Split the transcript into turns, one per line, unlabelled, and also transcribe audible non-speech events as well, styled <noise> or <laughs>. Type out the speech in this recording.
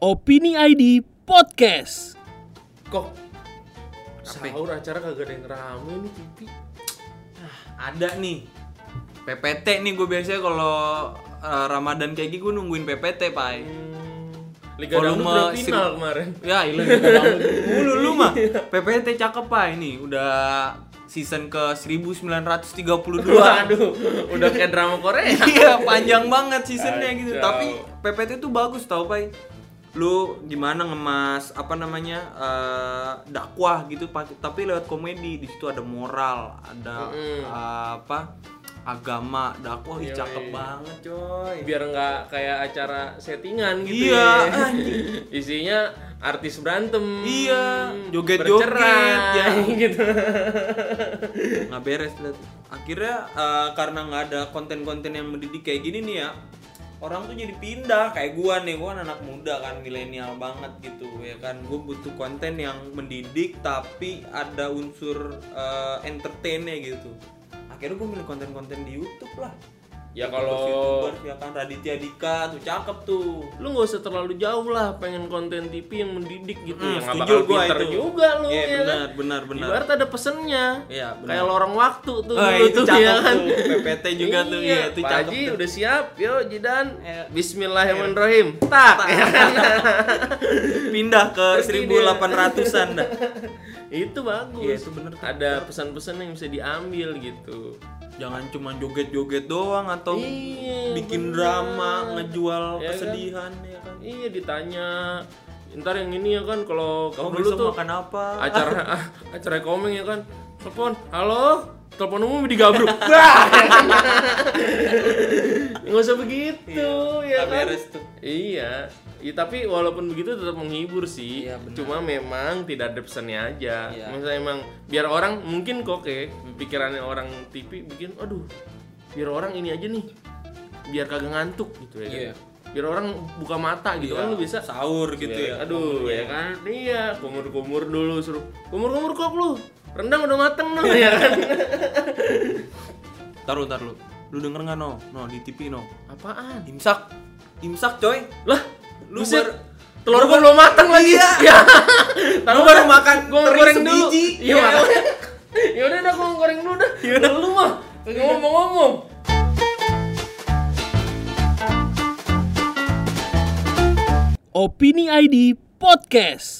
Opini ID Podcast.
Kok sahur acara kagak ada yang rame nih pipi.
ada nih PPT nih gue biasanya kalau eh, Ramadan kayak gini gue nungguin PPT pai
Liga Dangdut udah
Volume sip.
final kemarin.
ya ilah gitu kamu mulu lu mah PPT cakep pai nih udah season ke 1932
Waduh, udah kayak drama Korea.
<laughs> iya panjang banget seasonnya gitu
Kacau.
tapi PPT tuh bagus tau pai lu gimana ngemas apa namanya eh, dakwah gitu pak- tapi lewat komedi di situ ada moral ada
Mm-mm.
apa agama dakwah
Yoi.
ih cakep banget coy
Biar nggak kayak acara settingan gitu
Iya,
ya.
anjing.
<laughs> Isinya artis berantem.
Iya, joget-joget,
bercerai, <laughs>
ya.
gitu.
nggak beres liat. akhirnya eh, karena nggak ada konten-konten yang mendidik kayak gini nih ya orang tuh jadi pindah kayak gua nih gua kan anak muda kan milenial banget gitu ya kan gua butuh konten yang mendidik tapi ada unsur eh, entertainnya gitu akhirnya gua milih konten-konten di YouTube lah
Ya
Gitu
kalau
YouTubers, ya kan Raditya Dika tuh cakep tuh
lu nggak usah terlalu jauh lah pengen konten TV yang mendidik gitu
Hmm,
yang nggak
setuju
bakal
gua
pinter
itu.
juga lu
Iya,
ya
benar,
kan?
benar, benar.
Ibarat ada pesennya
Iya, benar.
kayak lorong waktu tuh
Ah,
dulu
itu
tuh
cakep
ya kan
tuh. PPT juga tuh,
Iya,
iya, itu
Pak
cakep
Haji
tuh.
udah siap yo Jidan
Eh,
Bismillahirrahmanirrahim
Iya.
tak ya kan?
pindah ke
Pergi dia.
1800-an dah
<laughs> <laughs> itu bagus
Iya, itu benar tuh.
ada pesan-pesan yang bisa diambil gitu
jangan cuma joget-joget doang atau
Iya,
bikin
bener.
drama
Ya
ngejual
kan?
kesedihan ya kan
iya ditanya ntar yang ini ya kan kalau
kamu
kalau dulu
besok
tuh
makan apa <laughs>
acara ah, acara komeng ya kan telepon halo telepon umum
<laughs>
digabruk <laughs> Wah, ya kan? nggak usah begitu
Iya,
ya
nggak
kan
beres tuh.
iya Ya, tapi walaupun begitu tetap menghibur sih
Iya, benar.
cuma memang tidak ada pesannya aja
Iya. Hmm.
Maksudnya emang biar orang mungkin koke pikirannya orang TV bikin aduh biar orang ini aja nih biar kagak ngantuk gitu ya kan?
Iya.
biar orang buka mata gitu
Iya,
kan lu bisa
sahur gitu ya,
Aduh, ya kan? Iya, kumur-kumur dulu suruh. Kumur-kumur kok lu. Rendang udah mateng noh, <laughs>
Iya.
ya kan?
taruh taruh lu lu denger nggak no no di tv no
Apaan?
imsak imsak coy
Lah, lu
Lu baru-
telur
lu
gua
baru-
belum mateng lagi.
Iya.
<laughs> Ya.
Lu baru makan
gua
teri
goreng dulu.
sebiji.
Iya,
Iya.
makanya. <laughs> Ya udah dah gua goreng dulu dah. Ya udah lu mah
Iya.
kagak ngomong-ngomong.
Opini ID Podcast.